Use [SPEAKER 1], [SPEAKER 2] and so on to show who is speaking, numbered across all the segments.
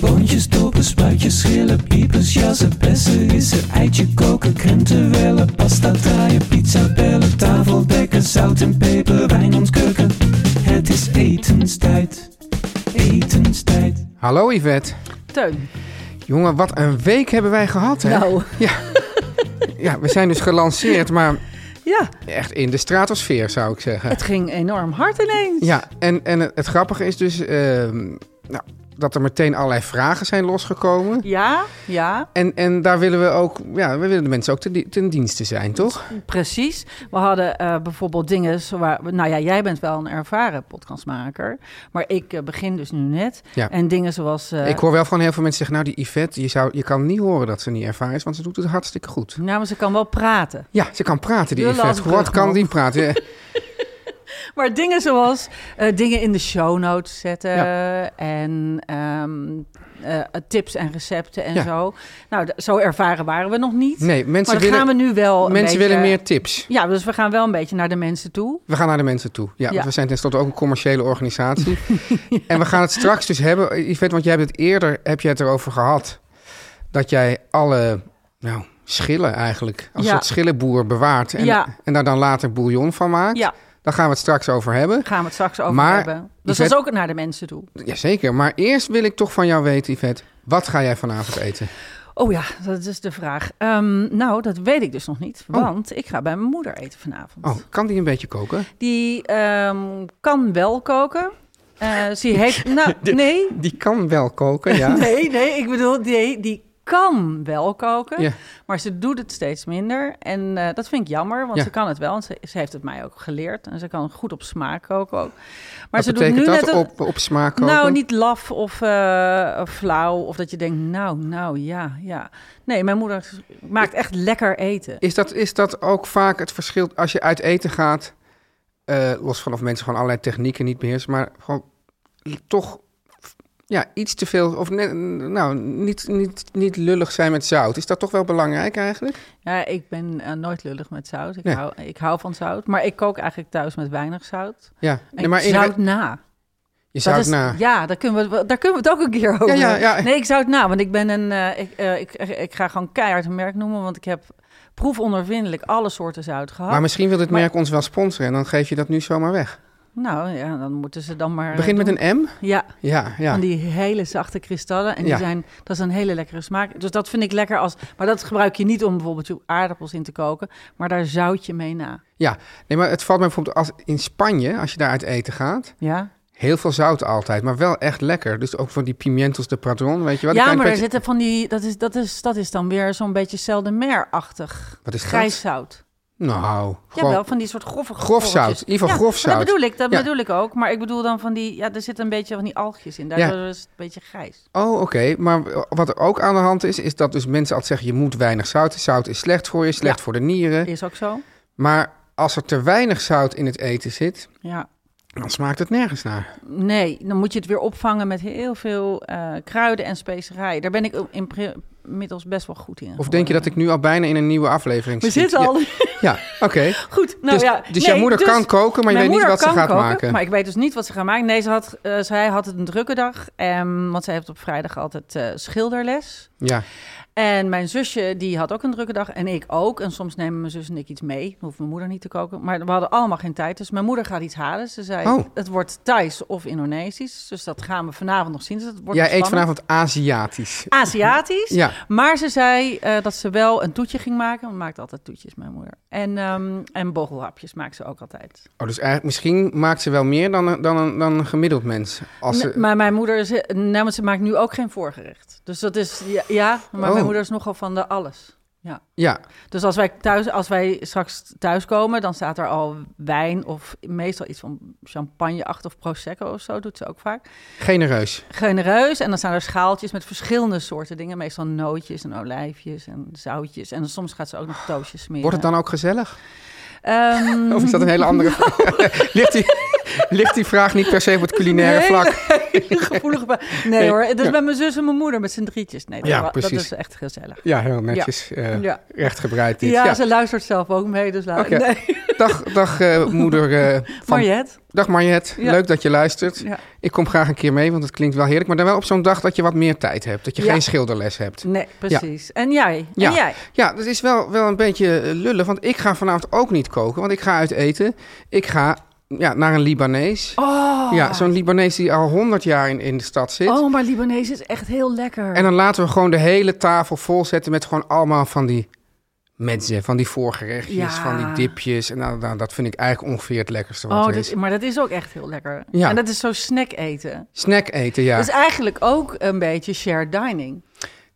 [SPEAKER 1] Boontjes, dopen, spuitjes, schillen, piepers, jassen, bessen, rissen, eitje koken, krenten wellen, pasta draaien, pizza bellen, tafel dekken, zout en peper, wijn ontkurken. Het is etenstijd, etenstijd.
[SPEAKER 2] Hallo Yvette.
[SPEAKER 3] Teun.
[SPEAKER 2] Jongen, wat een week hebben wij gehad, hè?
[SPEAKER 3] Nou.
[SPEAKER 2] Ja. ja, we zijn dus gelanceerd, maar
[SPEAKER 3] Ja,
[SPEAKER 2] echt in de stratosfeer, zou ik zeggen.
[SPEAKER 3] het ging enorm hard ineens.
[SPEAKER 2] Ja, en, en het, het grappige is dus ehm, nou, dat er meteen allerlei vragen zijn losgekomen.
[SPEAKER 3] Ja, ja,
[SPEAKER 2] En, en daar willen we ook, ja, we willen de mensen ook ten, di- ten dienste zijn, toch?
[SPEAKER 3] precies. We hadden eh, bijvoorbeeld dingen zo waar... we- Nou ja, jij bent wel een ervaren podcastmaker. Maar ik eh, begin dus nu net.
[SPEAKER 2] Ja.
[SPEAKER 3] En dingen zoals... eh,
[SPEAKER 2] Ik hoor wel van heel veel mensen zeggen, nou die Yvette, je, zou, je kan niet horen dat ze niet ervaren is, want ze doet het hartstikke goed.
[SPEAKER 3] Nou, maar ze kan wel praten.
[SPEAKER 2] Ja, ze kan praten, die
[SPEAKER 3] De
[SPEAKER 2] Yvette. Wat kan
[SPEAKER 3] Landsbrugman.
[SPEAKER 2] die praten? Ja.
[SPEAKER 3] Maar dingen zoals eh, dingen in de show notes zetten en ehm, eh, tips en recepten en
[SPEAKER 2] Ja.
[SPEAKER 3] zo. Nou, d- zo ervaren waren we nog niet.
[SPEAKER 2] Nee, mensen
[SPEAKER 3] maar dat
[SPEAKER 2] willen-
[SPEAKER 3] gaan we nu wel. een
[SPEAKER 2] Mensen
[SPEAKER 3] beetje-
[SPEAKER 2] willen meer tips.
[SPEAKER 3] Ja, dus we gaan wel een beetje naar de mensen toe.
[SPEAKER 2] We gaan naar de mensen toe. Ja, want
[SPEAKER 3] Ja.
[SPEAKER 2] we zijn tenslotte ook een commerciële organisatie. En we gaan het straks dus hebben, eh, Yvette, want jij hebt het eerder heb jij het erover gehad. Dat jij alle nou, schillen eigenlijk, als
[SPEAKER 3] Ja.
[SPEAKER 2] soort schillenboer bewaart. En,
[SPEAKER 3] Ja.
[SPEAKER 2] en daar dan later bouillon van maakt.
[SPEAKER 3] Ja.
[SPEAKER 2] Daar gaan we het straks over hebben.
[SPEAKER 3] Daar gaan we het straks over
[SPEAKER 2] Maar,
[SPEAKER 3] hebben. Dus
[SPEAKER 2] Yvette-
[SPEAKER 3] dat is ook naar de mensen toe.
[SPEAKER 2] Jazeker, maar eerst wil ik toch van jou weten, Yvette. Wat ga jij vanavond eten?
[SPEAKER 3] Oh ja, dat is de vraag. Ehm, nou, dat weet ik dus nog niet.
[SPEAKER 2] Oh.
[SPEAKER 3] Want ik ga bij mijn moeder eten vanavond.
[SPEAKER 2] Oh, kan die een beetje koken?
[SPEAKER 3] Die ehm, kan wel koken. Eh, ze heeft... Nou, nee.
[SPEAKER 2] Die kan wel koken, ja.
[SPEAKER 3] Nee, nee, ik bedoel, nee, die kan wel koken,
[SPEAKER 2] Ja.
[SPEAKER 3] maar ze doet het steeds minder. En eh, dat vind ik jammer, want
[SPEAKER 2] Ja.
[SPEAKER 3] ze kan het wel. En ze, ze heeft het mij ook geleerd. En ze kan goed op smaak koken ook. Maar
[SPEAKER 2] Wat
[SPEAKER 3] ze
[SPEAKER 2] betekent
[SPEAKER 3] doet nu
[SPEAKER 2] dat?
[SPEAKER 3] net een-
[SPEAKER 2] Op, op smaak koken?
[SPEAKER 3] Nou, niet laf of eh, of flauw. Of dat je denkt, nou, nou, ja, ja. Nee, mijn moeder maakt echt lekker eten.
[SPEAKER 2] Is dat, is dat ook vaak het verschil als je uit eten gaat? eh, los van of mensen gewoon allerlei technieken niet beheersen, maar gewoon toch ja, iets te veel, of ne- nou, niet, niet, niet lullig zijn met zout. Is dat toch wel belangrijk eigenlijk?
[SPEAKER 3] Ja, ik ben eh, nooit lullig met zout. Ik,
[SPEAKER 2] Nee.
[SPEAKER 3] hou, ik hou van zout. Maar ik kook eigenlijk thuis met weinig zout.
[SPEAKER 2] Ja,
[SPEAKER 3] En
[SPEAKER 2] Nee, maar in-
[SPEAKER 3] zout na.
[SPEAKER 2] je
[SPEAKER 3] Dat
[SPEAKER 2] zout
[SPEAKER 3] is-
[SPEAKER 2] na.
[SPEAKER 3] Ja, daar kunnen, we, het wel- daar kunnen we het ook een keer over.
[SPEAKER 2] ja,
[SPEAKER 3] hebben.
[SPEAKER 2] ja.
[SPEAKER 3] Nee, ik zou het na, want ik ben een. eh, ik, eh, ik, ik ga gewoon keihard een merk noemen, want ik heb proefondervindelijk alle soorten zout gehad.
[SPEAKER 2] Maar misschien wil dit
[SPEAKER 3] Maar-
[SPEAKER 2] merk ons wel sponsoren en dan geef je dat nu zomaar weg.
[SPEAKER 3] Nou ja, dan moeten ze dan maar. eh,
[SPEAKER 2] Begint met
[SPEAKER 3] doen.
[SPEAKER 2] een M?
[SPEAKER 3] Ja,
[SPEAKER 2] Ja, ja.
[SPEAKER 3] van die hele zachte kristallen. En
[SPEAKER 2] Ah. Ja.
[SPEAKER 3] die zijn, dat is een hele lekkere smaak. Dus dat vind ik lekker als. Maar dat gebruik je niet om bijvoorbeeld je aardappels in te koken, maar daar zout je mee na.
[SPEAKER 2] ja. Nee, maar het valt mij bijvoorbeeld als in Spanje, als je daar uit eten gaat,
[SPEAKER 3] Ja,
[SPEAKER 2] heel veel zout altijd, maar wel echt lekker. Dus ook van die pimientos de padron, weet je wel.
[SPEAKER 3] ja
[SPEAKER 2] Een klein
[SPEAKER 3] maar er
[SPEAKER 2] beetje-
[SPEAKER 3] zitten van die. Dat is, dat is, dat is dan weer zo'n beetje seldemer-achtig.
[SPEAKER 2] Wat is dat?
[SPEAKER 3] Grijs zout.
[SPEAKER 2] Nou,
[SPEAKER 3] Ja,
[SPEAKER 2] gewoon...
[SPEAKER 3] wel van die soort grove
[SPEAKER 2] Grof
[SPEAKER 3] korreltjes.
[SPEAKER 2] zout, in ieder geval
[SPEAKER 3] Ja,
[SPEAKER 2] grof
[SPEAKER 3] maar
[SPEAKER 2] zout.
[SPEAKER 3] Dat bedoel ik, dat
[SPEAKER 2] Ja.
[SPEAKER 3] bedoel ik ook. Maar ik bedoel dan van die, ja, er zit een beetje van die algjes in. Daardoor is het een beetje grijs.
[SPEAKER 2] Oh, oké. Maar wat er ook aan de hand is, is dat dus mensen altijd zeggen... je moet weinig zout. Zout is slecht voor je, slecht
[SPEAKER 3] Ja.
[SPEAKER 2] voor de nieren.
[SPEAKER 3] Is ook zo.
[SPEAKER 2] Maar als er te weinig zout in het eten zit...
[SPEAKER 3] Ja.
[SPEAKER 2] dan smaakt het nergens naar.
[SPEAKER 3] Nee, dan moet je het weer opvangen met heel veel eh, kruiden en specerijen. Daar ben ik in pri- inmiddels best wel goed in.
[SPEAKER 2] Of denk je dat ik nu al bijna in een nieuwe aflevering
[SPEAKER 3] We
[SPEAKER 2] zit?
[SPEAKER 3] zitten al.
[SPEAKER 2] Ja, ja, oké.
[SPEAKER 3] Goed, nou
[SPEAKER 2] dus
[SPEAKER 3] ja.
[SPEAKER 2] dus jouw
[SPEAKER 3] nee,
[SPEAKER 2] moeder
[SPEAKER 3] dus-
[SPEAKER 2] kan koken, maar je weet
[SPEAKER 3] Mijn
[SPEAKER 2] niet
[SPEAKER 3] moeder
[SPEAKER 2] wat ze
[SPEAKER 3] kan
[SPEAKER 2] gaat
[SPEAKER 3] koken,
[SPEAKER 2] maken.
[SPEAKER 3] Maar ik weet dus niet wat ze gaat maken. Nee, ze had, eh, zij had het een drukke dag. ehm, want zij heeft op vrijdag altijd eh, schilderles.
[SPEAKER 2] Ja,
[SPEAKER 3] En mijn zusje die had ook een drukke dag. En ik ook. En soms nemen mijn zus en ik iets mee. Dan hoeft mijn moeder niet te koken. Maar we hadden allemaal geen tijd. Dus mijn moeder gaat iets halen. Ze zei,
[SPEAKER 2] Oh.
[SPEAKER 3] het wordt Thais of Indonesisch. Dus dat gaan we vanavond nog zien. Dus dat wordt
[SPEAKER 2] jij
[SPEAKER 3] nog
[SPEAKER 2] eet
[SPEAKER 3] spannend.
[SPEAKER 2] vanavond Aziatisch.
[SPEAKER 3] Aziatisch.
[SPEAKER 2] Ja.
[SPEAKER 3] Maar ze zei eh, dat ze wel een toetje ging maken. Want maakt altijd toetjes, mijn moeder. En, ehm, en bogelhapjes maakt ze ook altijd.
[SPEAKER 2] Oh, dus eigenlijk, misschien maakt ze wel meer dan, een- dan, een, dan een gemiddeld mens. Als
[SPEAKER 3] Nee,
[SPEAKER 2] ze,
[SPEAKER 3] Maar mijn moeder is, nou, maar ze maakt nu ook geen voorgerecht. Dus dat is, ja, ja, maar
[SPEAKER 2] Oh.
[SPEAKER 3] mijn moeder is nogal van de alles. Ja.
[SPEAKER 2] ja,
[SPEAKER 3] Dus als wij, thuis, als wij straks thuiskomen, dan staat er al wijn of meestal iets van champagne-acht of prosecco of zo, doet ze ook vaak.
[SPEAKER 2] genereus.
[SPEAKER 3] Genereus, en dan staan er schaaltjes met verschillende soorten dingen. Meestal nootjes en olijfjes en zoutjes. En dan soms gaat ze ook nog toosjes smeren.
[SPEAKER 2] Wordt het dan Oh. ook gezellig?
[SPEAKER 3] Ehm,
[SPEAKER 2] Of is dat een hele andere vraag? ligt, die, ligt die vraag niet per se op het culinaire
[SPEAKER 3] Nee,
[SPEAKER 2] vlak?
[SPEAKER 3] nee, gevoelige ba- Nee hoor, het is met mijn zus en mijn moeder, met z'n drietjes. Nee, dat,
[SPEAKER 2] Ja,
[SPEAKER 3] wa- dat
[SPEAKER 2] precies.
[SPEAKER 3] is echt gezellig.
[SPEAKER 2] Ja, heel netjes. eh,
[SPEAKER 3] Ja.
[SPEAKER 2] Rechtgebreid dit.
[SPEAKER 3] ja,
[SPEAKER 2] Ja,
[SPEAKER 3] ze luistert zelf ook mee. Dus laat,
[SPEAKER 2] Oké.
[SPEAKER 3] nee.
[SPEAKER 2] Dag, dag eh, moeder eh, van...
[SPEAKER 3] Mariette.
[SPEAKER 2] Dag Mariette,
[SPEAKER 3] Ja.
[SPEAKER 2] leuk dat je luistert.
[SPEAKER 3] Ja.
[SPEAKER 2] Ik kom graag een keer mee, want het klinkt wel heerlijk. Maar dan wel op zo'n dag dat je wat meer tijd hebt. Dat je
[SPEAKER 3] Ja.
[SPEAKER 2] geen schilderles hebt.
[SPEAKER 3] Nee, precies. En jij?
[SPEAKER 2] Ja.
[SPEAKER 3] En jij?
[SPEAKER 2] Ja, dat is wel, wel een beetje eh, lullig. Want ik ga vanavond ook niet koken. Want ik ga uit eten. Ik ga ja, naar een Libanees.
[SPEAKER 3] Oh,
[SPEAKER 2] Ja, zo'n Libanees die al 100 jaar in, in de stad zit.
[SPEAKER 3] oh maar Libanees is echt heel lekker.
[SPEAKER 2] En dan laten we gewoon de hele tafel volzetten met gewoon allemaal van die mezze, van die voorgerechtjes,
[SPEAKER 3] Ja.
[SPEAKER 2] van die dipjes. En nou, nou, dat vind ik eigenlijk ongeveer het lekkerste wat
[SPEAKER 3] oh,
[SPEAKER 2] er
[SPEAKER 3] dat,
[SPEAKER 2] is.
[SPEAKER 3] maar dat is ook echt heel lekker.
[SPEAKER 2] Ja.
[SPEAKER 3] En dat is zo snack eten.
[SPEAKER 2] Snack eten, ja.
[SPEAKER 3] Dat is eigenlijk ook een beetje shared dining.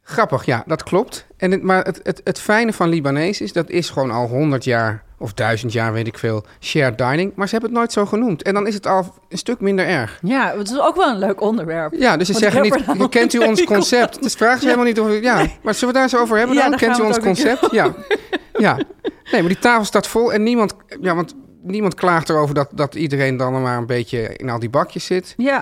[SPEAKER 2] Grappig, ja, dat klopt. En het, maar het, het, het fijne van Libanees is, dat is gewoon al 100 jaar of duizend jaar, weet ik veel, shared dining. Maar ze hebben het nooit zo genoemd. En dan is het al een stuk minder erg.
[SPEAKER 3] Ja, het is ook wel een leuk onderwerp.
[SPEAKER 2] Ja, dus ze
[SPEAKER 3] Want ik
[SPEAKER 2] zeggen
[SPEAKER 3] heb er
[SPEAKER 2] niet,
[SPEAKER 3] nou
[SPEAKER 2] kent u
[SPEAKER 3] een
[SPEAKER 2] ons
[SPEAKER 3] hekel
[SPEAKER 2] concept? Dus vragen ze helemaal niet of... Ja, maar zullen we daar eens over hebben
[SPEAKER 3] Ja,
[SPEAKER 2] dan?
[SPEAKER 3] daar
[SPEAKER 2] Kent
[SPEAKER 3] gaan
[SPEAKER 2] u
[SPEAKER 3] we
[SPEAKER 2] ons
[SPEAKER 3] het ook een
[SPEAKER 2] concept? Ja. ja. Nee, maar die tafel staat vol en niemand... Ja, want niemand klaagt erover dat, dat iedereen dan maar een beetje in al die bakjes zit.
[SPEAKER 3] Ja,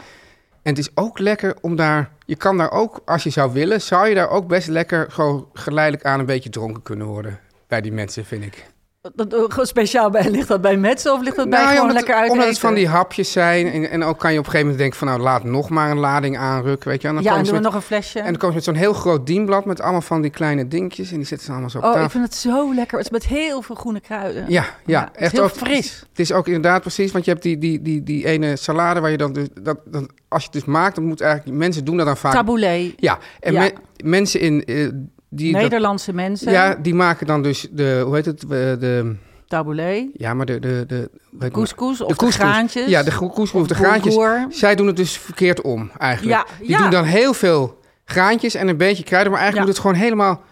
[SPEAKER 2] En het is ook lekker om daar... Je kan daar ook, als je zou willen, zou je daar ook best lekker... gewoon geleidelijk aan een beetje dronken kunnen worden. Bij die mensen, vind ik.
[SPEAKER 3] dat, eh, speciaal bij, ligt dat bij Metsen of ligt dat bij
[SPEAKER 2] Nou ja,
[SPEAKER 3] gewoon
[SPEAKER 2] omdat,
[SPEAKER 3] lekker uit
[SPEAKER 2] omdat het
[SPEAKER 3] eten?
[SPEAKER 2] van die hapjes zijn. En, en ook kan je op een gegeven moment denken van... nou, laat nog maar een lading aanrukken, weet je. En dan
[SPEAKER 3] Ja, en
[SPEAKER 2] komen ze
[SPEAKER 3] doen we
[SPEAKER 2] met
[SPEAKER 3] nog een flesje.
[SPEAKER 2] En dan komen ze met zo'n heel groot dienblad met allemaal van die kleine dingetjes. En die zetten ze allemaal zo op
[SPEAKER 3] Oh, ik
[SPEAKER 2] tafel.
[SPEAKER 3] vind het zo lekker. Het is met heel veel groene kruiden.
[SPEAKER 2] Ja, ja,
[SPEAKER 3] Ja, het is
[SPEAKER 2] echt
[SPEAKER 3] heel
[SPEAKER 2] ook-
[SPEAKER 3] fris.
[SPEAKER 2] Het is ook inderdaad precies, want je hebt die, die, die, die ene salade waar je dan... Dus, dat, dat, als je het dus maakt, dan moet eigenlijk... Mensen doen dat dan vaak...
[SPEAKER 3] Taboulet.
[SPEAKER 2] Ja, en
[SPEAKER 3] Ja.
[SPEAKER 2] men- mensen in... eh, die dat-
[SPEAKER 3] Nederlandse mensen.
[SPEAKER 2] ja, die maken dan dus de... Hoe heet het? eh, de,
[SPEAKER 3] Taboulet.
[SPEAKER 2] ja, maar de... de, de hoe heet het?
[SPEAKER 3] Couscous of de,
[SPEAKER 2] couscous.
[SPEAKER 3] graantjes.
[SPEAKER 2] Ja, de gro- couscous of de graantjes. Zij doen het dus verkeerd om, eigenlijk.
[SPEAKER 3] Ja,
[SPEAKER 2] die
[SPEAKER 3] ja.
[SPEAKER 2] doen dan heel veel graantjes en een beetje kruiden, maar eigenlijk
[SPEAKER 3] Ja.
[SPEAKER 2] moet het gewoon helemaal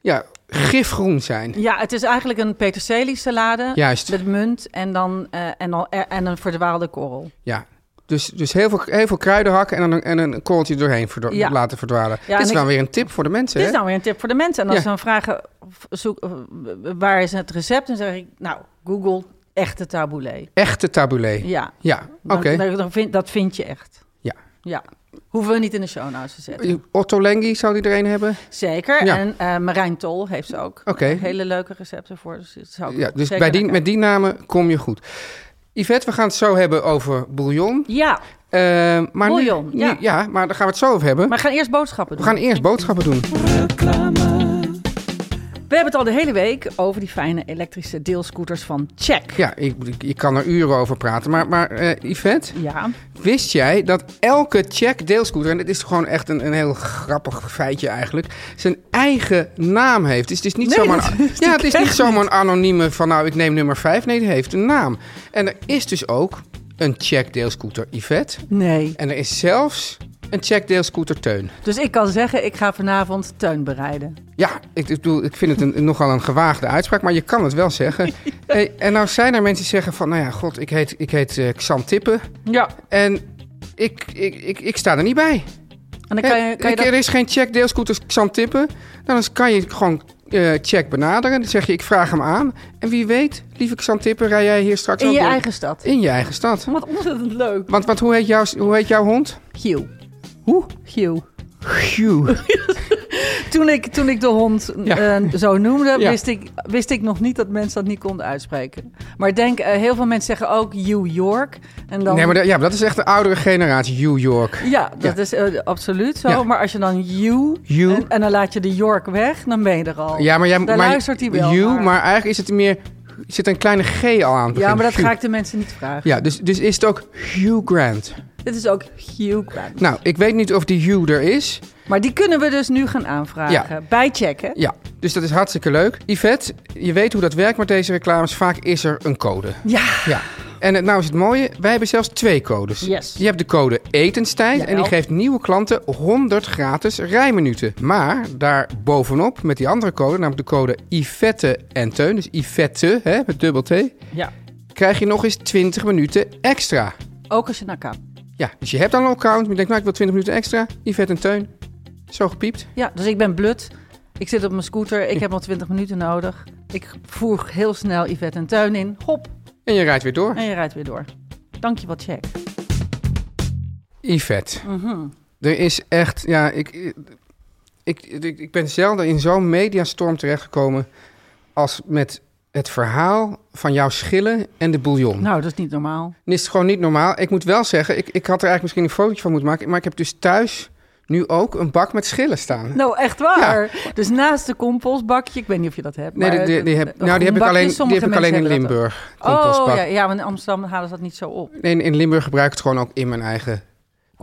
[SPEAKER 2] ja, gifgroen zijn.
[SPEAKER 3] Ja, het is eigenlijk een peterselie salade.
[SPEAKER 2] Juist,
[SPEAKER 3] Met munt en dan, eh, en dan eh, en een verdwaalde korrel.
[SPEAKER 2] ja. Dus, dus heel, veel, heel veel kruiden hakken en, dan, en een korreltje doorheen verdo-
[SPEAKER 3] Ja.
[SPEAKER 2] laten verdwalen.
[SPEAKER 3] Ja,
[SPEAKER 2] Dit is
[SPEAKER 3] en
[SPEAKER 2] dan
[SPEAKER 3] ik-
[SPEAKER 2] weer een tip voor de mensen,
[SPEAKER 3] Dit is
[SPEAKER 2] hè?
[SPEAKER 3] nou weer een tip voor de mensen. En als
[SPEAKER 2] Ja.
[SPEAKER 3] ze dan vragen, of zoek, eh, waar is het recept? Dan zeg ik, nou, Google echte taboulet.
[SPEAKER 2] Echte taboulet. Ja,
[SPEAKER 3] Ja,
[SPEAKER 2] oké.
[SPEAKER 3] dan- dan- dan vind- dat vind je echt.
[SPEAKER 2] Ja.
[SPEAKER 3] Ja, hoeven we niet in de show notes te zetten.
[SPEAKER 2] Otto Lengi zou die er een hebben?
[SPEAKER 3] Zeker.
[SPEAKER 2] Ja.
[SPEAKER 3] En eh, Marijn Tol heeft ze ook.
[SPEAKER 2] Oké.
[SPEAKER 3] Hele leuke recepten voor. Dus, dat zou ik
[SPEAKER 2] Ja, dus
[SPEAKER 3] zeker
[SPEAKER 2] bij die,
[SPEAKER 3] naar
[SPEAKER 2] met die namen kom je goed. Yvette, we gaan het zo hebben over bouillon.
[SPEAKER 3] kijken. Ja,
[SPEAKER 2] Eh, maar nu-
[SPEAKER 3] Bouillon,
[SPEAKER 2] nu,
[SPEAKER 3] ja.
[SPEAKER 2] ja, maar daar gaan we het zo over hebben.
[SPEAKER 3] maar we gaan eerst boodschappen
[SPEAKER 2] We
[SPEAKER 3] doen.
[SPEAKER 2] gaan eerst boodschappen doen.
[SPEAKER 3] We hebben het al de hele week over die fijne elektrische deelscooters van Check.
[SPEAKER 2] Ja, ik, ik, ik kan er uren over praten. Maar, maar eh, Yvette,
[SPEAKER 3] Ja.
[SPEAKER 2] wist jij dat elke check deelscooter... en dit is gewoon echt een, een heel grappig feitje eigenlijk... zijn eigen naam heeft. Dus het is niet
[SPEAKER 3] Nee,
[SPEAKER 2] zomaar...
[SPEAKER 3] dat
[SPEAKER 2] een-
[SPEAKER 3] wist
[SPEAKER 2] ja,
[SPEAKER 3] ik
[SPEAKER 2] het is
[SPEAKER 3] echt
[SPEAKER 2] niet zomaar een anonieme van... nou, ik neem nummer 5. Nee, die heeft een naam. En er is dus ook een check deelscooter Yvette.
[SPEAKER 3] Nee.
[SPEAKER 2] En er is zelfs een check deelscooter Teun.
[SPEAKER 3] Dus ik kan zeggen, ik ga vanavond tuin bereiden.
[SPEAKER 2] Ja, ik, ik bedoel, ik vind het een, nogal een gewaagde uitspraak, maar je kan het wel zeggen. Hey, en nou zijn er mensen die zeggen van, nou ja, god, ik heet, ik heet eh, Xan Tippen
[SPEAKER 3] Ja.
[SPEAKER 2] en ik, ik, ik, ik sta er niet bij.
[SPEAKER 3] En dan kan je, kan
[SPEAKER 2] Ik-
[SPEAKER 3] je dat...
[SPEAKER 2] Er is geen check deelscooters Xan Tippen. Nou, dan kan je gewoon eh, check benaderen. Dan zeg je, ik vraag hem aan. En wie weet, lieve Xan Tippen, rij jij hier straks
[SPEAKER 3] In
[SPEAKER 2] ook
[SPEAKER 3] je
[SPEAKER 2] door?
[SPEAKER 3] eigen stad.
[SPEAKER 2] In je eigen stad.
[SPEAKER 3] Wat ontzettend leuk.
[SPEAKER 2] Want, want hoe, heet jouw, hoe heet jouw hond?
[SPEAKER 3] Hugh. Hoe? Hugh.
[SPEAKER 2] Hugh.
[SPEAKER 3] toen, ik, toen ik de hond
[SPEAKER 2] Ja.
[SPEAKER 3] eh, zo noemde,
[SPEAKER 2] Ja.
[SPEAKER 3] wist, ik, wist ik nog niet dat mensen dat niet konden uitspreken. Maar ik denk, eh, heel veel mensen zeggen ook New York. En dan,
[SPEAKER 2] Nee, maar dat, ja, maar dat is echt de oudere generatie, New York.
[SPEAKER 3] Ja, dat
[SPEAKER 2] Ja.
[SPEAKER 3] is eh, absoluut zo.
[SPEAKER 2] Ja.
[SPEAKER 3] Maar als je dan you,
[SPEAKER 2] You.
[SPEAKER 3] En, en dan laat je de York weg, dan ben je er al.
[SPEAKER 2] Ja, maar jij
[SPEAKER 3] Daar
[SPEAKER 2] maar,
[SPEAKER 3] luistert hij wel
[SPEAKER 2] You,
[SPEAKER 3] naar.
[SPEAKER 2] maar eigenlijk is het meer. Zit een kleine G al aan. het
[SPEAKER 3] ja,
[SPEAKER 2] begin.
[SPEAKER 3] maar dat
[SPEAKER 2] Hugh.
[SPEAKER 3] ga ik de mensen niet vragen.
[SPEAKER 2] Ja, dus, dus is het ook Hugh Grant.
[SPEAKER 3] Dit is ook Hugh Grant.
[SPEAKER 2] Nou, ik weet niet of die Hugh er is.
[SPEAKER 3] Maar die kunnen we dus nu gaan aanvragen.
[SPEAKER 2] Ja.
[SPEAKER 3] Bijchecken.
[SPEAKER 2] Ja, dus dat is hartstikke leuk. Yvette, je weet hoe dat werkt met deze reclames. Vaak is er een code.
[SPEAKER 3] Ja.
[SPEAKER 2] Ja. En het, nou is het mooie, wij hebben zelfs twee codes.
[SPEAKER 3] Yes.
[SPEAKER 2] Je hebt de code etenstijd en die
[SPEAKER 3] Jawel.
[SPEAKER 2] geeft nieuwe klanten 100 gratis rijminuten. Maar daar bovenop met die andere code, namelijk de code Yvette en Teun, dus Yvette hè, met dubbel T,
[SPEAKER 3] ja.
[SPEAKER 2] krijg je nog eens 20 minuten extra.
[SPEAKER 3] Ook als je naar kan.
[SPEAKER 2] Ja, dus je hebt al een account, maar je denkt, nou ik wil 20 minuten extra. Yvette en Teun, zo gepiept.
[SPEAKER 3] Ja, dus ik ben blut. Ik zit op mijn scooter. Ik heb nog 20 minuten nodig. Ik voer heel snel Yvette en Teun in. Hop.
[SPEAKER 2] En je rijdt weer door.
[SPEAKER 3] En je rijdt weer door. Dank je wel, check.
[SPEAKER 2] Yvette.
[SPEAKER 3] Mhm.
[SPEAKER 2] Er is echt, ja, ik, ik, ik, ik ben zelden in zo'n mediastorm terechtgekomen als met het verhaal van jouw schillen en de bouillon.
[SPEAKER 3] Nou, dat is niet normaal.
[SPEAKER 2] Dit is gewoon niet normaal. Ik moet wel zeggen, ik, ik had er eigenlijk misschien een fotootje van moeten maken, maar ik heb dus thuis nu ook een bak met schillen staan.
[SPEAKER 3] Nou, echt waar. Dus naast de compostbakje, ik weet niet of je dat hebt.
[SPEAKER 2] Nee,
[SPEAKER 3] maar
[SPEAKER 2] die, die, die
[SPEAKER 3] de
[SPEAKER 2] heb, nou, die heb ik
[SPEAKER 3] groenbakjes,
[SPEAKER 2] alleen, die heb
[SPEAKER 3] sommige
[SPEAKER 2] ik alleen in
[SPEAKER 3] mensen hebben dat
[SPEAKER 2] Limburg.
[SPEAKER 3] ook.
[SPEAKER 2] compostbak.
[SPEAKER 3] Oh, ja, ja, want in Amsterdam halen ze dat niet zo op.
[SPEAKER 2] Nee, in, in Limburg gebruik ik het gewoon ook in mijn eigen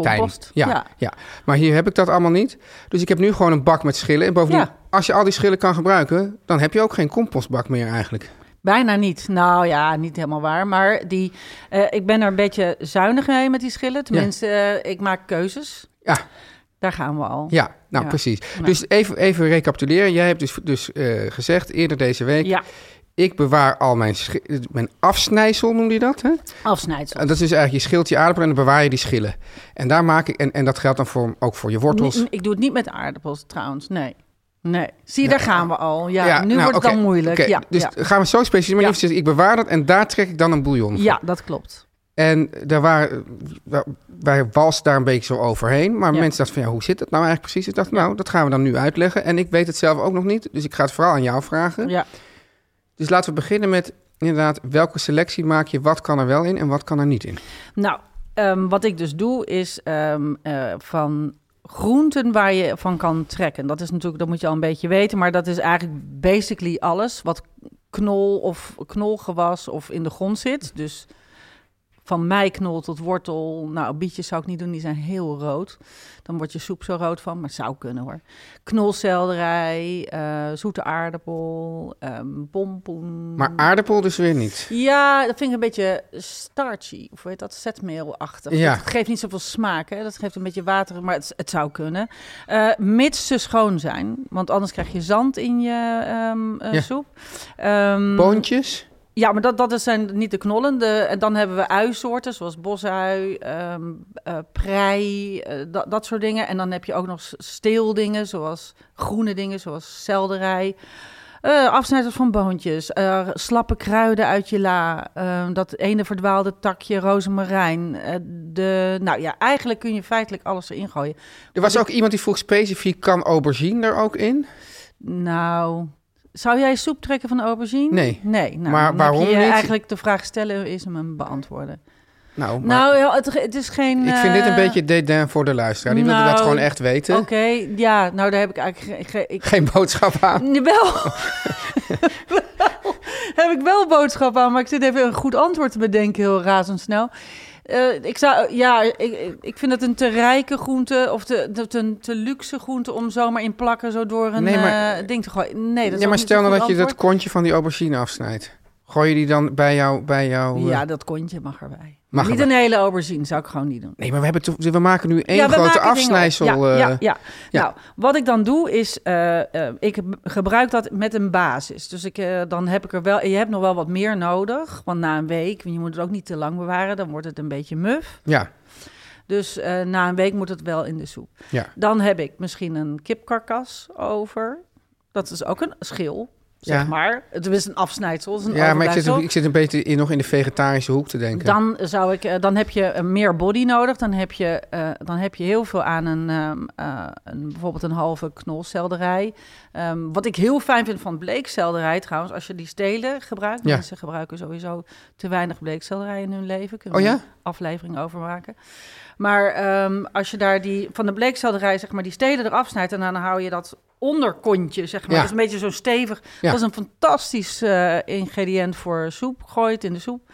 [SPEAKER 2] tuin.
[SPEAKER 3] Compost.
[SPEAKER 2] Ja, ja. maar hier heb ik dat allemaal niet. Dus ik heb nu gewoon een bak met schillen. En bovendien,
[SPEAKER 3] Ja.
[SPEAKER 2] als je al die schillen kan gebruiken, dan heb je ook geen compostbak meer eigenlijk.
[SPEAKER 3] Bijna niet. Nou ja, niet helemaal waar. Maar die, eh, ik ben er een beetje zuinig mee met die schillen. Tenminste, eh, ik maak keuzes.
[SPEAKER 2] Ja,
[SPEAKER 3] Daar gaan we al.
[SPEAKER 2] ja nou
[SPEAKER 3] Ja.
[SPEAKER 2] precies.
[SPEAKER 3] Nou.
[SPEAKER 2] Dus even, even recapituleren. Jij hebt dus, dus eh, gezegd eerder deze week,
[SPEAKER 3] Ja,
[SPEAKER 2] ik bewaar al mijn, schi- eh, mijn afsnijsel, noemde je dat? Hè?
[SPEAKER 3] afsnijdsel.
[SPEAKER 2] En dat is dus eigenlijk, je schilt je aardappel en dan bewaar je die schillen. En, daar maak ik, en, en dat geldt dan voor, ook voor je wortels.
[SPEAKER 3] Nee, ik doe het niet met aardappels trouwens. Nee. Nee. Zie je, daar gaan we al. Ja,
[SPEAKER 2] nou,
[SPEAKER 3] nu wordt het
[SPEAKER 2] oké,
[SPEAKER 3] dan moeilijk.
[SPEAKER 2] oké.
[SPEAKER 3] Ja,
[SPEAKER 2] dus
[SPEAKER 3] ja.
[SPEAKER 2] gaan we zo specifiek. Maar
[SPEAKER 3] Ja.
[SPEAKER 2] je hebt gezegd, ik bewaar dat en daar trek ik dan een bouillon van.
[SPEAKER 3] ja, dat klopt.
[SPEAKER 2] En daar waren, wa- wij walsten daar een beetje zo overheen. Maar
[SPEAKER 3] Ja.
[SPEAKER 2] mensen dachten van, ja, hoe zit dat nou eigenlijk precies? Ik dacht, nou, dat gaan we dan nu uitleggen. En ik weet het zelf ook nog niet, dus ik ga het vooral aan jou vragen.
[SPEAKER 3] Ja.
[SPEAKER 2] Dus laten we beginnen met, inderdaad, welke selectie maak je? Wat kan er wel in en wat kan er niet in?
[SPEAKER 3] Nou, ehm, wat ik dus doe is ehm, eh, van groenten waar je van kan trekken. Dat is natuurlijk, dat moet je al een beetje weten, maar dat is eigenlijk basically alles wat knol of knolgewas of in de grond zit. Dus van meiknol tot wortel. Nou, bietjes zou ik niet doen, die zijn heel rood. Dan wordt je soep zo rood van, maar het zou kunnen hoor. Knolselderij, eh, zoete aardappel, ehm pompoen.
[SPEAKER 2] Maar aardappel dus weer niet.
[SPEAKER 3] Ja, dat vind ik een beetje starchy. Of hoe heet dat? Zetmeelachtig.
[SPEAKER 2] Ja.
[SPEAKER 3] Dat geeft niet zoveel smaak, hè? Dat geeft een beetje water, maar het, het zou kunnen. Eh, mits ze schoon zijn, want anders krijg je zand in je ehm, eh,
[SPEAKER 2] Ja.
[SPEAKER 3] soep. Ehm,
[SPEAKER 2] Boontjes?
[SPEAKER 3] ja, maar dat, dat is- zijn niet de knollen. De, en dan hebben we uisoorten, zoals bosui, ehm eh, prei, eh, dat, dat soort dingen. En dan heb je ook nog s- steeldingen, zoals groene dingen, zoals selderij. eh afsnijders van boontjes, eh, slappe kruiden uit je la, ehm, dat ene verdwaalde takje rozemarijn. eh, de, nou ja, eigenlijk kun je feitelijk alles erin gooien.
[SPEAKER 2] Er was ook iemand die vroeg specifiek, kan aubergine er ook in?
[SPEAKER 3] Nou, zou jij soep trekken van aubergine?
[SPEAKER 2] Nee.
[SPEAKER 3] Nee, nou,
[SPEAKER 2] Maar
[SPEAKER 3] dan heb
[SPEAKER 2] waarom
[SPEAKER 3] je
[SPEAKER 2] niet?
[SPEAKER 3] eigenlijk de vraag stellen is hem een beantwoorden.
[SPEAKER 2] Nou, maar
[SPEAKER 3] Nou, ja, het, het is geen.
[SPEAKER 2] ik vind dit een
[SPEAKER 3] eh,
[SPEAKER 2] beetje dédain voor de luisteraar. Die wilde dat
[SPEAKER 3] nou,
[SPEAKER 2] gewoon echt weten.
[SPEAKER 3] Oké, ja, nou daar heb ik eigenlijk. ge- ge- ik,
[SPEAKER 2] Geen boodschap aan.
[SPEAKER 3] Jawel. Wel, heb ik wel boodschap aan, maar ik zit even een goed antwoord te bedenken, heel razendsnel. Eh, ik zou, ja, ik- ik, ik vind het een te rijke groente of te, te, te, te luxe groente om zomaar in plakken zo door een
[SPEAKER 2] Nee, maar-
[SPEAKER 3] eh, ding te gooien. Nee, dat is
[SPEAKER 2] Ja,
[SPEAKER 3] ook
[SPEAKER 2] maar
[SPEAKER 3] niet
[SPEAKER 2] stel
[SPEAKER 3] zo'n
[SPEAKER 2] nou dat
[SPEAKER 3] goed
[SPEAKER 2] je dat
[SPEAKER 3] antwoord.
[SPEAKER 2] kontje van die aubergine afsnijdt. Gooi je die dan bij jou... Bij jou eh,
[SPEAKER 3] Ja, dat kontje mag erbij.
[SPEAKER 2] Mag
[SPEAKER 3] niet
[SPEAKER 2] erbij.
[SPEAKER 3] een hele aubergine, zou ik gewoon niet doen.
[SPEAKER 2] Nee, maar we, hebben toch- we maken nu één
[SPEAKER 3] Ja, we
[SPEAKER 2] grote
[SPEAKER 3] maken dingen op.
[SPEAKER 2] afsnijsel.
[SPEAKER 3] Ja, ja,
[SPEAKER 2] eh,
[SPEAKER 3] ja.
[SPEAKER 2] ja.
[SPEAKER 3] Nou, wat ik dan doe is, eh, eh, ik heb- gebruik dat met een basis. Dus ik, eh, dan heb ik er wel, je hebt nog wel wat meer nodig. Want na een week, want je moet het ook niet te lang bewaren, dan wordt het een beetje muf.
[SPEAKER 2] ja,
[SPEAKER 3] Dus eh, na een week moet het wel in de soep.
[SPEAKER 2] ja.
[SPEAKER 3] Dan heb ik misschien een kipkarkas over. Dat is ook een schil. zeg
[SPEAKER 2] Ja.
[SPEAKER 3] maar. Het is een afsnijdsel, het is een
[SPEAKER 2] Ja, maar ik zit,
[SPEAKER 3] overblijfsel.
[SPEAKER 2] ik zit een beetje in, nog in de vegetarische hoek te denken.
[SPEAKER 3] Dan, zou ik, eh, dan heb je eh, meer body nodig. Dan heb je, eh, dan heb je heel veel aan een, ehm, eh, een- bijvoorbeeld een halve knolselderij. Ehm, wat ik heel fijn vind van bleekselderij trouwens, als je die stelen gebruikt.
[SPEAKER 2] Ja.
[SPEAKER 3] Mensen gebruiken sowieso te weinig bleekselderij in hun leven. Kunnen
[SPEAKER 2] Oh
[SPEAKER 3] we
[SPEAKER 2] ja?
[SPEAKER 3] een aflevering over maken. Maar ehm, als je daar die, van de bleekselderij zeg maar, die stelen eraf snijdt... en dan hou je dat onderkontje, zeg maar.
[SPEAKER 2] Ja.
[SPEAKER 3] Dat is een beetje zo stevig.
[SPEAKER 2] Ja.
[SPEAKER 3] Dat is een fantastisch eh, ingrediënt voor soep. Gooi het in de soep.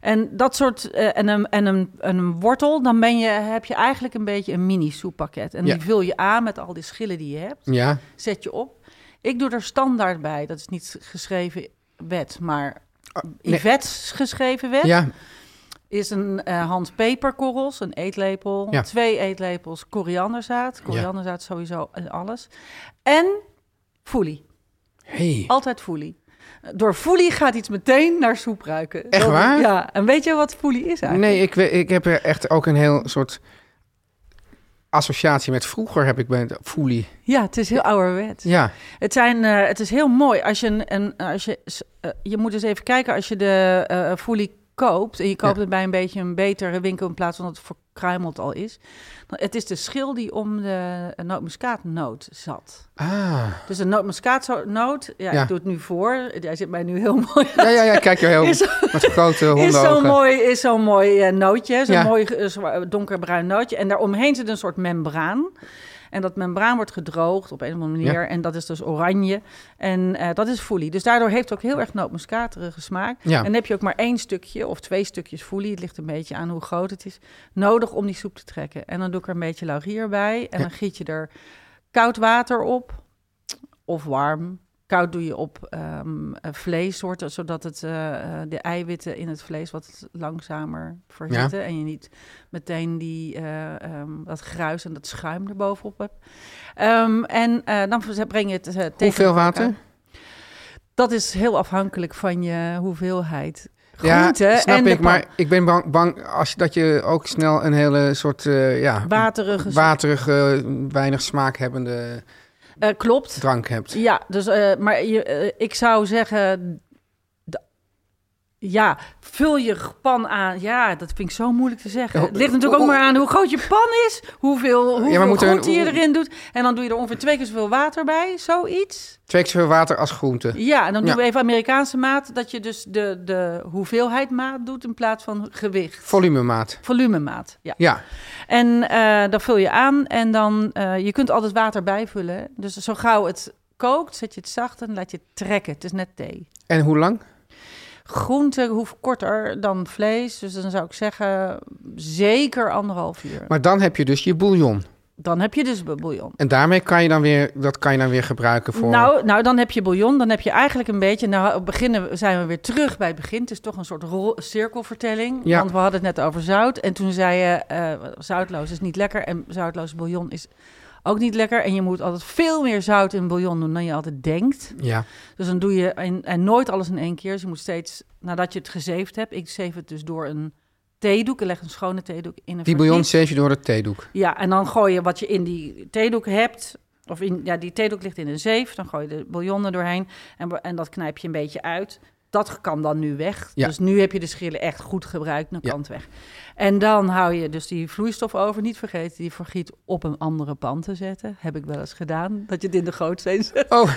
[SPEAKER 3] En dat soort, eh, en, een, en, een, en een wortel, dan ben je, heb je eigenlijk een beetje een mini soeppakket. En
[SPEAKER 2] Ja.
[SPEAKER 3] die vul je aan met al die schillen die je hebt.
[SPEAKER 2] Ja,
[SPEAKER 3] Zet je op. Ik doe er standaard bij. Dat is niet geschreven wet, maar
[SPEAKER 2] Ah, nee.
[SPEAKER 3] Yvette's geschreven wet
[SPEAKER 2] ja,
[SPEAKER 3] is een eh hand peperkorrels, een eetlepel,
[SPEAKER 2] Ja.
[SPEAKER 3] twee eetlepels korianderzaad. Korianderzaad sowieso en alles. En foelie.
[SPEAKER 2] hey.
[SPEAKER 3] Altijd foelie. Door foelie gaat iets meteen naar soep ruiken.
[SPEAKER 2] Echt waar?
[SPEAKER 3] Ja, en weet je wat foelie is eigenlijk?
[SPEAKER 2] Nee, ik, we- ik heb er echt ook een heel soort associatie met vroeger heb ik bij de foelie.
[SPEAKER 3] Ja, het is heel ouderwets.
[SPEAKER 2] Ja,
[SPEAKER 3] Het, zijn, eh, het is heel mooi als je een. een als je, s- eh, je moet eens even kijken als je de eh foelie koopt. En je koopt
[SPEAKER 2] Ja.
[SPEAKER 3] het bij een beetje een betere winkel in plaats van dat het verkruimeld al is. Dan- Het is de schil die om de eh, nootmuskaatnoot zat.
[SPEAKER 2] ah.
[SPEAKER 3] Dus een nootmuskaatnoot, ja,
[SPEAKER 2] Ja.
[SPEAKER 3] ik doe het nu voor. Jij zit mij nu heel mooi
[SPEAKER 2] Ja, ja, ja, kijk je heel
[SPEAKER 3] Is-
[SPEAKER 2] met grote
[SPEAKER 3] is
[SPEAKER 2] hondenogen.
[SPEAKER 3] zo'n mooi, is zo'n mooi eh, nootje, zo'n
[SPEAKER 2] Ja.
[SPEAKER 3] mooi eh, zwa- donkerbruin nootje. En daaromheen zit een soort membraan. En dat membraan wordt gedroogd op een of andere manier.
[SPEAKER 2] Ja.
[SPEAKER 3] En dat is dus oranje. En eh, dat is foelie. Dus daardoor heeft het ook heel erg nootmuskaterige smaak.
[SPEAKER 2] Ja.
[SPEAKER 3] En dan heb je ook maar één stukje of twee stukjes foelie. Het ligt een beetje aan hoe groot het is. Nodig om die soep te trekken. En dan doe ik er een beetje laurier bij. En dan giet je er koud water op. Of warm. Koud doe je op ehm eh, vleessoorten, zodat het, eh, eh, de eiwitten in het vlees wat langzamer verhitten. En je niet meteen die, eh, ehm, dat gruis en dat schuim erbovenop hebt. Ehm, en eh, dan v- breng je het eh, tegen
[SPEAKER 2] Hoeveel
[SPEAKER 3] elkaar.
[SPEAKER 2] water?
[SPEAKER 3] Dat is heel afhankelijk van je hoeveelheid
[SPEAKER 2] Ja,
[SPEAKER 3] groente
[SPEAKER 2] snap
[SPEAKER 3] en de
[SPEAKER 2] ik,
[SPEAKER 3] pa-
[SPEAKER 2] maar ik ben bang, bang als, je- dat je ook snel een hele soort eh, ja,
[SPEAKER 3] waterige soep.
[SPEAKER 2] waterige, weinig smaakhebbende
[SPEAKER 3] Eh, klopt.
[SPEAKER 2] drank hebt.
[SPEAKER 3] Ja, dus, eh, maar je, eh, ik zou zeggen... d- Ja, vul je pan aan. Ja, dat vind ik zo moeilijk te zeggen.
[SPEAKER 2] Ja,
[SPEAKER 3] Het ligt natuurlijk ook maar aan hoe groot je pan is. Hoeveel, hoeveel
[SPEAKER 2] moet er een-
[SPEAKER 3] groente je erin doet. En dan doe je er ongeveer twee keer zoveel water bij. Zoiets.
[SPEAKER 2] Twee keer zoveel water als groente.
[SPEAKER 3] Ja, en dan doen
[SPEAKER 2] Ja.
[SPEAKER 3] we even Amerikaanse maat. Dat je dus de, de hoeveelheid maat doet in plaats van gewicht.
[SPEAKER 2] Volumemaat.
[SPEAKER 3] Volumemaat, ja.
[SPEAKER 2] Ja,
[SPEAKER 3] En eh, dat vul je aan en dan, eh, je kunt altijd water bijvullen. Dus zo gauw het kookt, zet je het zacht en laat je het trekken. Het is net thee.
[SPEAKER 2] en hoe lang?
[SPEAKER 3] Groente hoeft korter dan vlees, dus dan zou ik zeggen zeker anderhalf uur.
[SPEAKER 2] Maar dan heb je dus je bouillon.
[SPEAKER 3] Dan heb je dus bu- bouillon.
[SPEAKER 2] En daarmee kan je dan weer, dat kan je dan weer gebruiken voor...
[SPEAKER 3] Nou, nou, dan heb je bouillon, dan heb je eigenlijk een beetje... Nou, beginnen, zijn we weer terug bij het begin. Het is toch een soort rol, cirkelvertelling.
[SPEAKER 2] Ja.
[SPEAKER 3] Want we hadden het net over zout. En toen zei je, eh, zoutloos is niet lekker. En zoutloos bouillon is ook niet lekker. En je moet altijd veel meer zout in bouillon doen dan je altijd denkt.
[SPEAKER 2] Ja,
[SPEAKER 3] Dus dan doe je en, en nooit alles in één keer. Dus je moet steeds, nadat je het gezeefd hebt... Ik zeef het dus door een theedoek. Ik leg een schone theedoek in een
[SPEAKER 2] die bouillon
[SPEAKER 3] vergiet.
[SPEAKER 2] zeef je door het theedoek.
[SPEAKER 3] Ja, en dan gooi je wat je in die theedoek hebt. Of in, ja, die theedoek ligt in een zeef. Dan gooi je de bouillon er doorheen. En, we- en dat knijp je een beetje uit. Dat kan dan nu weg.
[SPEAKER 2] Ja.
[SPEAKER 3] Dus nu heb je de schillen echt goed gebruikt. Dan
[SPEAKER 2] Ja.
[SPEAKER 3] kan het weg. En dan hou je dus die vloeistof over. Niet vergeten die vergiet op een andere pan te zetten. Heb ik wel eens gedaan. Dat je het in de gootsteen zet.
[SPEAKER 2] Oh,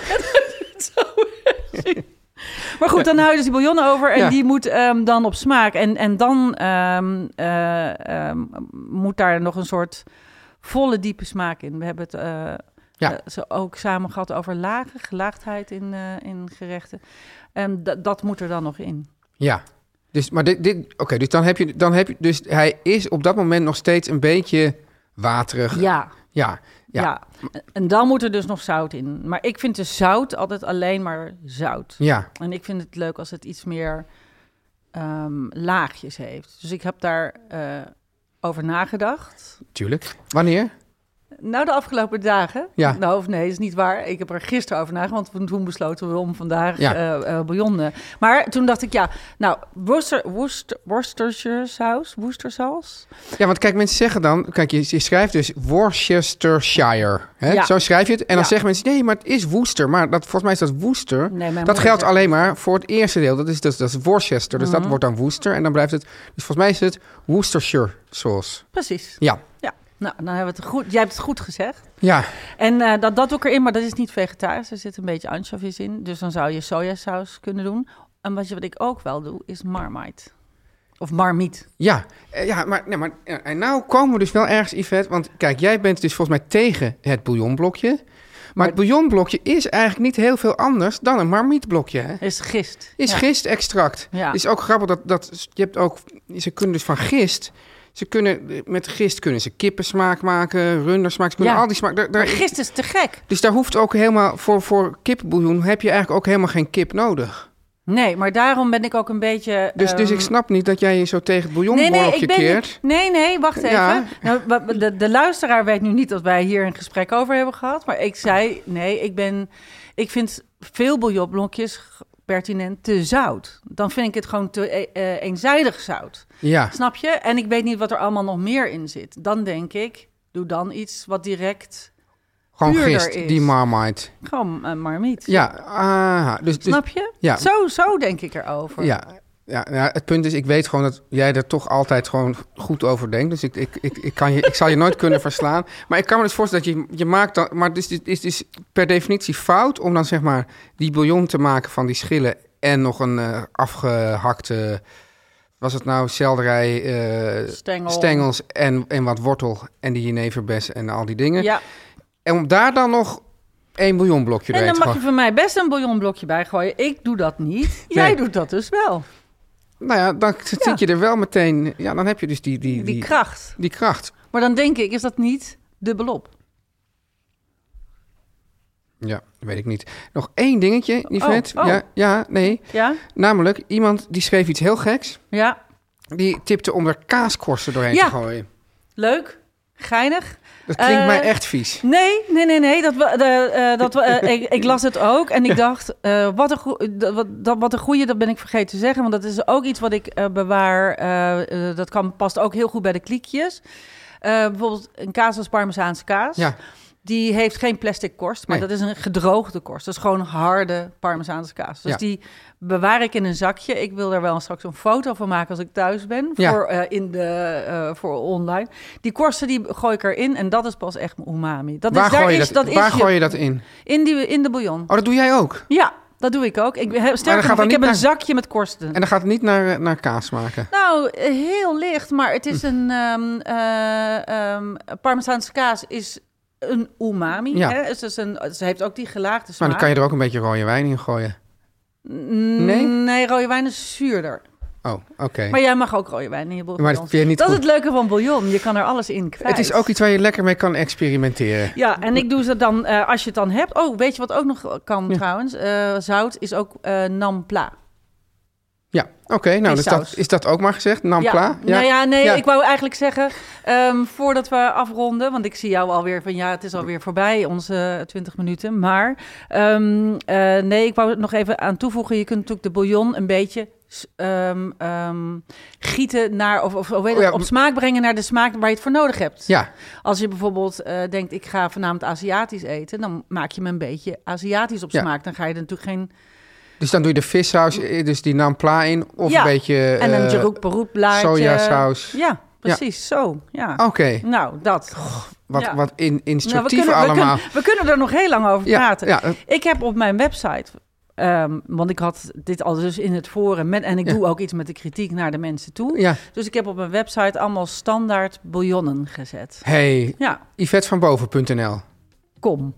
[SPEAKER 3] Zo erg. Maar goed, dan hou je dus die bouillon over en
[SPEAKER 2] Ja.
[SPEAKER 3] die moet ehm, dan op smaak. En, en dan ehm, eh, ehm, moet daar nog een soort volle, diepe smaak in. We hebben het eh,
[SPEAKER 2] Ja.
[SPEAKER 3] eh, zo ook samen gehad over lagen, gelaagdheid in, eh, in gerechten. En da- dat moet er dan nog in.
[SPEAKER 2] ja. Dus, maar dit, dit oké, dus dan heb je, dan heb je, dus hij is op dat moment nog steeds een beetje waterig.
[SPEAKER 3] Ja.
[SPEAKER 2] Ja,
[SPEAKER 3] Ja.
[SPEAKER 2] Ja.
[SPEAKER 3] en dan moet er dus nog zout in. Maar ik vind de zout altijd alleen maar zout.
[SPEAKER 2] ja.
[SPEAKER 3] En ik vind het leuk als het iets meer ehm, laagjes heeft. Dus ik heb daar eh, over nagedacht.
[SPEAKER 2] tuurlijk. Wanneer?
[SPEAKER 3] Nou, de afgelopen dagen.
[SPEAKER 2] Ja.
[SPEAKER 3] Nou, of nee, is niet waar. Ik heb er gisteren over nagedacht, want toen besloten we om vandaag
[SPEAKER 2] Ja.
[SPEAKER 3] eh eh, bouillon. eh. Maar toen dacht ik, ja, nou, Worcester, Worcester, Worcestershire saus, Worcestersaus.
[SPEAKER 2] Ja, want kijk, mensen zeggen dan... Kijk, je, je schrijft dus Worcestershire. Hè?
[SPEAKER 3] Ja.
[SPEAKER 2] Zo schrijf je het. En dan
[SPEAKER 3] Ja.
[SPEAKER 2] zeggen mensen, nee, maar het is Worcester. Maar dat, volgens mij is dat Worcester.
[SPEAKER 3] Nee,
[SPEAKER 2] dat
[SPEAKER 3] mijn moeder
[SPEAKER 2] geldt
[SPEAKER 3] zegt- Mhm.
[SPEAKER 2] alleen maar voor het eerste deel. Dat is, dus dat is Worcester. Dus dat wordt dan Worcester. En dan blijft het... Dus volgens mij is het Worcestershire sauce.
[SPEAKER 3] Precies.
[SPEAKER 2] Ja.
[SPEAKER 3] Ja. Nou, dan hebben we het goed. Jij hebt het goed gezegd.
[SPEAKER 2] Ja.
[SPEAKER 3] En eh, dat, dat ook erin, maar dat is niet vegetarisch. Er zit een beetje anchovies in. Dus dan zou je sojasaus kunnen doen. En wat, je, wat ik ook wel doe, is marmite. Of marmiet.
[SPEAKER 2] Ja, Eh, ja maar, nee, maar ja, en nou komen we dus wel ergens, Yvette. Want kijk, jij bent dus volgens mij tegen het bouillonblokje. Maar, het bouillonblokje is eigenlijk niet heel veel anders dan een marmietblokje. Hè?
[SPEAKER 3] Is gist.
[SPEAKER 2] Is
[SPEAKER 3] Ja.
[SPEAKER 2] gistextract.
[SPEAKER 3] Ja.
[SPEAKER 2] Is ook grappig dat, dat je hebt ook, ze kunnen dus van gist. Ze kunnen, met gist kunnen ze kippensmaak maken, rundersmaak. Ze kunnen
[SPEAKER 3] Ja.
[SPEAKER 2] al die smaak. Daar, daar-
[SPEAKER 3] Maar gist is te gek.
[SPEAKER 2] dus daar hoeft ook helemaal, voor, voor kippenbouillon heb je eigenlijk ook helemaal geen kip nodig.
[SPEAKER 3] Nee, maar daarom ben ik ook een beetje.
[SPEAKER 2] Dus, dus
[SPEAKER 3] ehm,
[SPEAKER 2] ik snap niet dat jij je zo tegen het bouillonblokje keert.
[SPEAKER 3] Nee, nee, wacht even.
[SPEAKER 2] Ja.
[SPEAKER 3] Nou, wa- de, de luisteraar weet nu niet dat wij hier een gesprek over hebben gehad. Maar ik zei, nee, ik, ben, ik vind veel bouillonblokjes g- pertinent te zout. Dan vind ik het gewoon te eh, eh, eenzijdig zout.
[SPEAKER 2] Ja.
[SPEAKER 3] Snap je? En ik weet niet wat er allemaal nog meer in zit. Dan denk ik, doe dan iets wat direct
[SPEAKER 2] Gewoon
[SPEAKER 3] puurder
[SPEAKER 2] gist,
[SPEAKER 3] is.
[SPEAKER 2] die marmite.
[SPEAKER 3] gewoon eh, marmiet.
[SPEAKER 2] Ja, aha. Dus, dus-
[SPEAKER 3] Snap je?
[SPEAKER 2] ja.
[SPEAKER 3] Zo, zo denk ik erover.
[SPEAKER 2] Ja, ja, ja, het punt is, ik weet gewoon dat jij er toch altijd gewoon goed over denkt. Dus ik, ik, ik, ik, kan je, ik zal je nooit kunnen verslaan. Maar ik kan me dus voorstellen dat je, je maakt dan... Maar dus, het is dus per definitie fout om dan zeg maar die bouillon te maken van die schillen... en nog een eh, afgehakte... Was het nou selderij, eh,
[SPEAKER 3] Stengel.
[SPEAKER 2] stengels en, en wat wortel en die jeneverbes en al die dingen.
[SPEAKER 3] Ja.
[SPEAKER 2] En om daar dan nog één bouillonblokje
[SPEAKER 3] En
[SPEAKER 2] erin
[SPEAKER 3] dan
[SPEAKER 2] te
[SPEAKER 3] mag je
[SPEAKER 2] gooien.
[SPEAKER 3] van mij best een bouillonblokje bijgooien. Ik doe dat niet. Jij
[SPEAKER 2] Nee.
[SPEAKER 3] doet dat dus wel.
[SPEAKER 2] Nou ja, dan zit
[SPEAKER 3] Ja.
[SPEAKER 2] je er wel meteen... Ja, dan heb je dus die... Die,
[SPEAKER 3] Die, kracht.
[SPEAKER 2] Die kracht.
[SPEAKER 3] Maar dan denk ik, is dat niet dubbelop?
[SPEAKER 2] Ja, weet ik niet. Nog één dingetje, Yvette.
[SPEAKER 3] oh.
[SPEAKER 2] Ja, ja, nee.
[SPEAKER 3] Ja?
[SPEAKER 2] Namelijk, iemand die schreef iets heel geks.
[SPEAKER 3] Ja.
[SPEAKER 2] Die tipte om er kaaskorsten doorheen
[SPEAKER 3] Ja.
[SPEAKER 2] te gooien.
[SPEAKER 3] Leuk. Geinig.
[SPEAKER 2] Dat klinkt
[SPEAKER 3] Eh,
[SPEAKER 2] mij echt vies.
[SPEAKER 3] Nee, nee, nee, nee. Dat, we- de, eh, dat, we- eh, ik, ik las het ook en ik dacht, eh, wat, een goe- dat- wat, dat, wat een goeie, dat ben ik vergeten te zeggen. Want dat is ook iets wat ik eh, bewaar. eh, eh, dat kan, past ook heel goed bij de kliekjes. Eh, bijvoorbeeld een kaas als Parmezaanse kaas.
[SPEAKER 2] Ja.
[SPEAKER 3] Die heeft geen plastic korst, maar
[SPEAKER 2] Nee.
[SPEAKER 3] dat is een gedroogde korst. Dat is gewoon harde Parmezaanse kaas. Dus
[SPEAKER 2] Ja.
[SPEAKER 3] die bewaar ik in een zakje. Ik wil daar wel straks een foto van maken als ik thuis ben.
[SPEAKER 2] Ja.
[SPEAKER 3] Voor, eh, in de, eh, voor online. Die korsten die gooi ik erin en dat is pas echt mijn umami. Dat
[SPEAKER 2] waar
[SPEAKER 3] is, daar
[SPEAKER 2] gooi, je,
[SPEAKER 3] is,
[SPEAKER 2] dat,
[SPEAKER 3] dat
[SPEAKER 2] waar
[SPEAKER 3] is
[SPEAKER 2] gooi je dat in?
[SPEAKER 3] In, die, in de bouillon.
[SPEAKER 2] Oh, dat doe jij ook.
[SPEAKER 3] Ja, dat doe ik ook. Ik, heb-
[SPEAKER 2] gaat
[SPEAKER 3] sterker
[SPEAKER 2] dan
[SPEAKER 3] nog, ik
[SPEAKER 2] niet
[SPEAKER 3] heb
[SPEAKER 2] naar-
[SPEAKER 3] een zakje met korsten.
[SPEAKER 2] En dan gaat het niet naar, eh, naar kaas maken.
[SPEAKER 3] Nou, eh, heel licht, maar het
[SPEAKER 2] Hm.
[SPEAKER 3] is een... ehm eh, ehm, Parmezaanse kaas is een umami.
[SPEAKER 2] Ja.
[SPEAKER 3] Hè? Dus Het is een, ze heeft ook die gelaagde
[SPEAKER 2] Maar
[SPEAKER 3] smaak.
[SPEAKER 2] dan kan je er ook een beetje rode wijn in gooien.
[SPEAKER 3] nee?
[SPEAKER 2] Nee?
[SPEAKER 3] nee, rode wijn is zuurder.
[SPEAKER 2] Oh, oké.
[SPEAKER 3] Maar jij mag ook rode wijn in je bouillon.
[SPEAKER 2] Maar dat vind je niet
[SPEAKER 3] dat is
[SPEAKER 2] goed.
[SPEAKER 3] het leuke van bouillon. Je kan er alles in kwijt.
[SPEAKER 2] Het is ook iets waar je lekker mee kan experimenteren.
[SPEAKER 3] Ja, en ik doe ze dan, eh, als je het dan hebt... Oh, weet je wat ook nog kan trouwens? Eh, zout is ook eh nampla.
[SPEAKER 2] Ja, oké. nou, dus
[SPEAKER 3] saus.
[SPEAKER 2] dat, is dat ook maar gezegd? Nampla?
[SPEAKER 3] Ja. Nou ja, nee,
[SPEAKER 2] Ja.
[SPEAKER 3] ik wou eigenlijk zeggen, ehm, voordat we afronden, want ik zie jou alweer van ja, het is alweer voorbij, onze 20 minuten. Maar ehm, eh, nee, ik wou het nog even aan toevoegen. Je kunt natuurlijk de bouillon een beetje s- ehm, ehm, gieten naar, of, of hoe heet
[SPEAKER 2] Oh ja,
[SPEAKER 3] het, op smaak brengen naar de smaak waar je het voor nodig hebt.
[SPEAKER 2] Ja.
[SPEAKER 3] Als je bijvoorbeeld eh, denkt, ik ga vanavond Aziatisch eten, dan maak je hem een beetje Aziatisch op
[SPEAKER 2] Ja.
[SPEAKER 3] smaak. Dan ga je er natuurlijk geen
[SPEAKER 2] Dus dan doe je de vissaus, eh, dus die nampla in. Of
[SPEAKER 3] Ja.
[SPEAKER 2] een beetje...
[SPEAKER 3] en een
[SPEAKER 2] eh,
[SPEAKER 3] jeroen beroep blaadje.
[SPEAKER 2] sojasaus. Oh.
[SPEAKER 3] Ja, precies. Zo, ja.
[SPEAKER 2] Oké,
[SPEAKER 3] Nou, dat.
[SPEAKER 2] wat,
[SPEAKER 3] Ja.
[SPEAKER 2] wat in,
[SPEAKER 3] Nou, we,
[SPEAKER 2] instructief
[SPEAKER 3] kunnen, we,
[SPEAKER 2] allemaal.
[SPEAKER 3] kunnen, we kunnen er nog heel lang over
[SPEAKER 2] Ja, eh,
[SPEAKER 3] praten.
[SPEAKER 2] ja, dat-
[SPEAKER 3] Ik heb op mijn website, ehm, want ik had dit al dus in het forum... Met, en ik doe ook iets met de kritiek naar de mensen toe.
[SPEAKER 2] Ja.
[SPEAKER 3] Dus ik heb op mijn website allemaal standaard bouillonnen gezet.
[SPEAKER 2] Hey,
[SPEAKER 3] Ja,
[SPEAKER 2] YvettevanBoven.nl.
[SPEAKER 3] kom.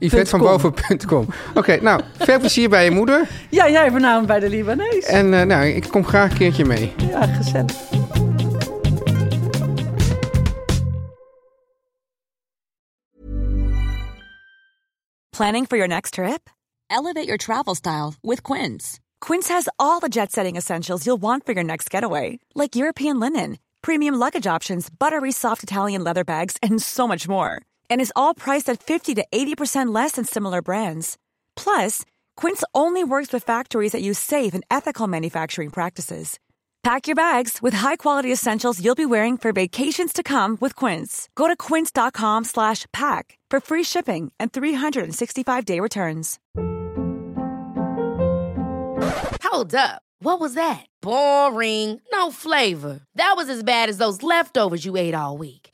[SPEAKER 2] YvettevanBoven.com. Oké, nou, veel plezier bij je moeder.
[SPEAKER 3] Ja, jij vanavond bij de Libanees.
[SPEAKER 2] En eh, nou, ik kom graag een keertje mee.
[SPEAKER 3] Ja, gezellig.
[SPEAKER 4] Planning for your next trip? Elevate your travel style with Quince. Quince has all the jet setting essentials you'll want for your next getaway, like European linen, premium luggage options, buttery soft Italian leather bags, and so much more. And is all priced at 50 to 80% less than similar brands. Plus, Quince only works with factories that use safe and ethical manufacturing practices. Pack your bags with high-quality essentials you'll be wearing for vacations to come with Quince. Go to quince.com slash pack for free shipping and 365-day returns.
[SPEAKER 5] Hold up. What was that? Boring. No flavor. That was as bad as those leftovers you ate all week.